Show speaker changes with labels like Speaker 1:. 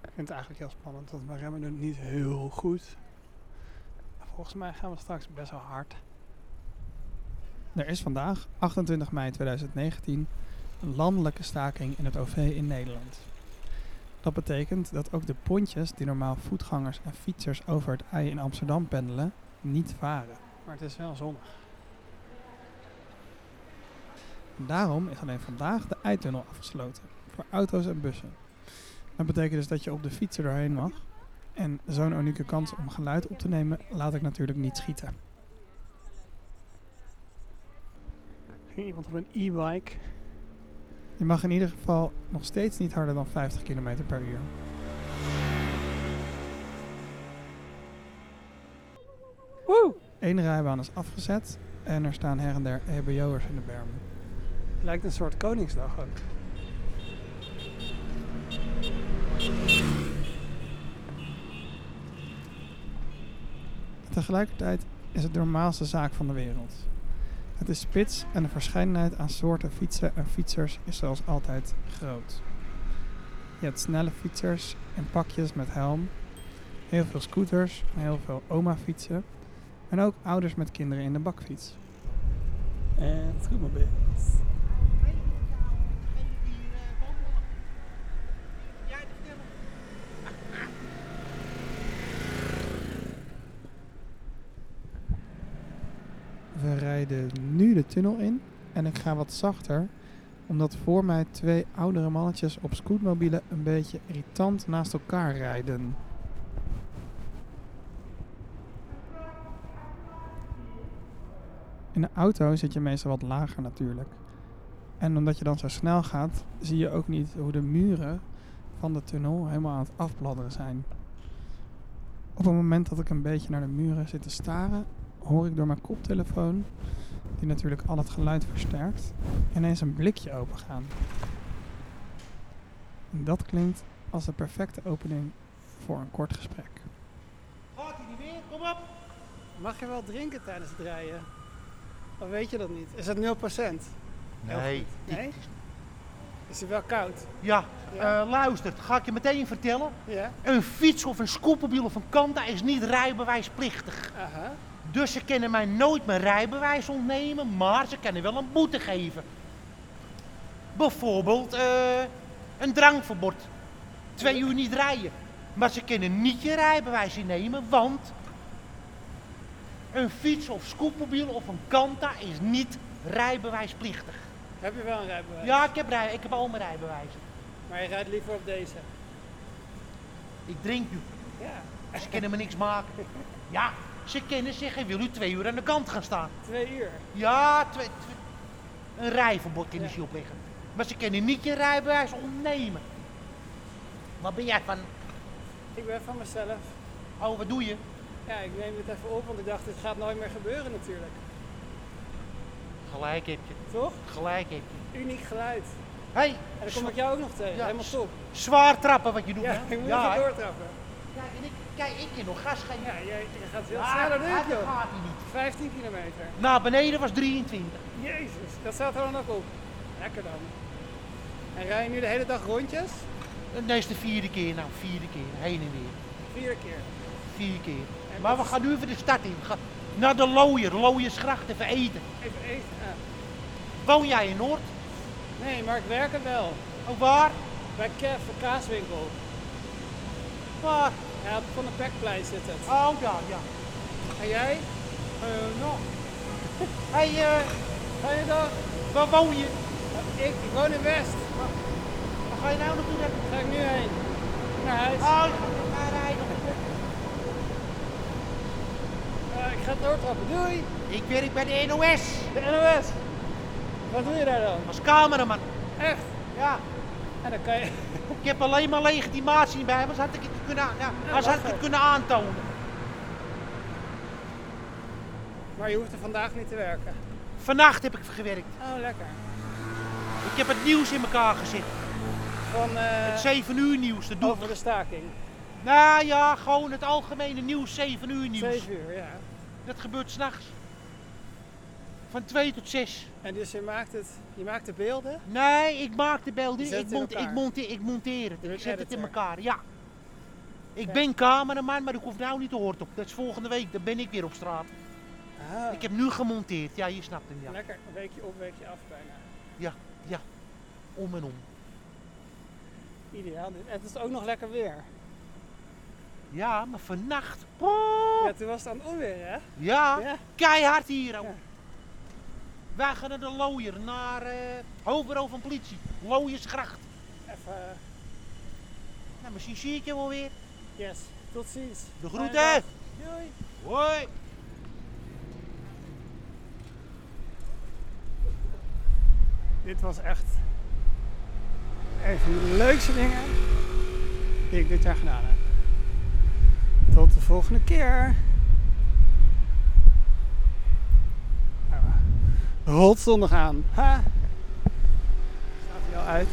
Speaker 1: vind het eigenlijk heel spannend, want we remmen het niet heel goed. Volgens mij gaan we straks best wel hard. Er is vandaag, 28 mei 2019, een landelijke staking in het OV in Nederland. Dat betekent dat ook de pontjes die normaal voetgangers en fietsers over het ei in Amsterdam pendelen, niet varen. Maar het is wel zonnig. Daarom is alleen vandaag de eitunnel afgesloten voor auto's en bussen. Dat betekent dus dat je op de fiets er doorheen mag. En zo'n unieke kans om geluid op te nemen laat ik natuurlijk niet schieten. Ging iemand op een e-bike? Je mag in ieder geval nog steeds niet harder dan 50 km per uur.
Speaker 2: Woe!
Speaker 1: Eén rijbaan is afgezet en er staan her en der EHBO'ers in de bermen. Het lijkt een soort Koningsdag ook. Tegelijkertijd is het de normaalste zaak van de wereld. Het is spits en de verscheidenheid aan soorten fietsen en fietsers is zoals altijd groot. Je hebt snelle fietsers in pakjes met helm, heel veel scooters, heel veel oma-fietsen en ook ouders met kinderen in de bakfiets.
Speaker 2: En het goed mobiel.
Speaker 1: We rijden nu de tunnel in en ik ga wat zachter, omdat voor mij twee oudere mannetjes op scootmobielen een beetje irritant naast elkaar rijden. In de auto zit je meestal wat lager natuurlijk. En omdat je dan zo snel gaat, zie je ook niet hoe de muren van de tunnel helemaal aan het afbladderen zijn. Op het moment dat ik een beetje naar de muren zit te staren, hoor ik door mijn koptelefoon, die natuurlijk al het geluid versterkt, ineens een blikje opengaan. En dat klinkt als de perfecte opening voor een kort gesprek.
Speaker 3: Gaat hij niet weer? Kom op!
Speaker 1: Mag je wel drinken tijdens het rijden? Of weet je dat niet? Is het 0%?
Speaker 3: Nee.
Speaker 1: Nee? Is het wel koud?
Speaker 3: Ja,
Speaker 1: Ja.
Speaker 3: eh, luister, dat ga ik je meteen vertellen.
Speaker 1: Ja.
Speaker 3: Een fiets of een scootmobiel of een kanta is niet rijbewijsplichtig.
Speaker 1: Aha.
Speaker 3: Dus ze kunnen mij nooit mijn rijbewijs ontnemen, maar ze kunnen wel een boete geven. Bijvoorbeeld eh, een drankverbod. Twee uur niet rijden. Maar ze kunnen niet je rijbewijs innemen, want een fiets of scootmobiel of een kanta is niet rijbewijsplichtig.
Speaker 1: Heb je wel een rijbewijs?
Speaker 3: Ja, ik heb, rij, ik heb al mijn rijbewijs.
Speaker 1: Maar je rijdt liever op deze.
Speaker 3: Ik drink nu.
Speaker 1: Ja.
Speaker 3: Ze kunnen me niks maken. Ja, ze kennen zeggen, wil u twee uur aan de kant gaan staan?
Speaker 1: Twee uur.
Speaker 3: Ja, twee, twee- een rijverbod kunnen ze je opleggen. Maar ze kunnen niet je rijbewijs ontnemen. Wat ben jij van,
Speaker 1: Ik ben van mezelf.
Speaker 3: oh wat doe je?
Speaker 1: Ja, ik neem het even op, want ik dacht, dit gaat nooit meer gebeuren natuurlijk.
Speaker 3: Gelijk heb je,
Speaker 1: Toch?
Speaker 3: gelijk heb je.
Speaker 1: Uniek geluid.
Speaker 3: Hé, hey,
Speaker 1: En dan kom ik jou ook nog tegen.
Speaker 3: Ja.
Speaker 1: Helemaal top.
Speaker 3: zwaar trappen wat je doet.
Speaker 1: Ja,
Speaker 3: hè?
Speaker 1: ik moet
Speaker 3: Ja,
Speaker 1: even
Speaker 3: hè?
Speaker 1: doortrappen.
Speaker 3: Kijk, en ik, kijk, ik kan nog gas geven.
Speaker 1: Ja, jij, jij gaat heel
Speaker 3: Ah,
Speaker 1: sneller dan
Speaker 3: ah,
Speaker 1: ik,
Speaker 3: dat
Speaker 1: joh.
Speaker 3: gaat hij niet.
Speaker 1: 15 kilometer.
Speaker 3: Naar beneden was 23.
Speaker 1: Jezus, dat staat er dan ook op. Lekker dan. En rij je nu de hele dag rondjes?
Speaker 3: En dat is de vierde keer nou, vierde keer, heen en weer.
Speaker 1: Vier keer.
Speaker 3: Vier keer.
Speaker 1: En
Speaker 3: Maar we
Speaker 1: dat is-
Speaker 3: gaan nu even de stad in. We gaan naar de Looier, Looiersgracht even eten.
Speaker 1: Even eten. Ah.
Speaker 3: Woon jij in Noord?
Speaker 1: Nee, maar ik werk er wel.
Speaker 3: Ook waar?
Speaker 1: Bij Kev, een kaaswinkel.
Speaker 3: Waar?
Speaker 1: Ja, van de Pekplein zit het. Ah,
Speaker 3: Oh ja, ja.
Speaker 1: En jij?
Speaker 3: Eh nou. Hé, hey, eh,
Speaker 1: Goeiedag.
Speaker 3: waar woon je?
Speaker 1: Ik, ik woon in West.
Speaker 3: Waar ga je nou naartoe? dan?
Speaker 1: Daar ga ik nu heen. Naar huis. Ah.
Speaker 3: Oh, je gaat naar daar rijden.
Speaker 1: Eh, ik ga doortrappen. Doei.
Speaker 3: Ik werk bij de NOS.
Speaker 1: De NOS. Wat doe je daar dan?
Speaker 3: Als cameraman.
Speaker 1: Echt?
Speaker 3: Ja.
Speaker 1: En dan kan je...
Speaker 3: Ik heb alleen maar legitimatie bij me, anders had ik het kunnen, aan- nou, anders had ik het kunnen aantonen.
Speaker 1: Maar je hoeft er vandaag niet te werken.
Speaker 3: Vannacht heb ik gewerkt.
Speaker 1: Oh, lekker.
Speaker 3: Ik heb het nieuws in elkaar gezet.
Speaker 1: Van eh, Oh,
Speaker 3: Het 7 uur nieuws, de doek.
Speaker 1: over de staking.
Speaker 3: Nou ja, gewoon het algemene nieuws, 7 uur nieuws.
Speaker 1: 7 uur, ja.
Speaker 3: Dat gebeurt s'nachts. Van 2 tot 6.
Speaker 1: En dus je maakt, het, je maakt de beelden.
Speaker 3: Nee, ik maak de beelden.
Speaker 1: Je zet
Speaker 3: Ik,
Speaker 1: het in
Speaker 3: mont, ik,
Speaker 1: elkaar.
Speaker 3: monte- ik monteer het.
Speaker 1: Je
Speaker 3: Ik
Speaker 1: bent
Speaker 3: zet het in
Speaker 1: editor.
Speaker 3: elkaar. Ja, Ik ben cameraman, maar ik hoef nou niet te horen op. Dat is volgende week, dan ben ik weer op straat.
Speaker 4: Ah,
Speaker 3: Ik heb nu gemonteerd. Ja, je snapt hem, ja.
Speaker 4: Lekker, een weekje op, weekje af bijna.
Speaker 3: Om en om.
Speaker 4: Ideaal. dit. En het is ook nog lekker weer.
Speaker 3: Ja, maar vannacht. Poeh.
Speaker 4: Ja, toen was het aan het onweer, hè?
Speaker 3: Ja,
Speaker 4: Ja.
Speaker 3: keihard hier. ouwe.
Speaker 4: Ja.
Speaker 3: Wij gaan naar de looier, naar eh hoofdbureau van politie. Looiersgracht.
Speaker 4: Even, eh,
Speaker 3: Nou, misschien zie ik je wel weer.
Speaker 4: yes. Tot ziens.
Speaker 3: De
Speaker 4: Fijne
Speaker 3: groeten.
Speaker 4: dag. Doei.
Speaker 3: Hoi.
Speaker 4: Dit was echt een van de leukste dingen die ik dit jaar gedaan heb. Tot de volgende keer. Nou, Rotzondag aan. Ha! Staat hij al uit?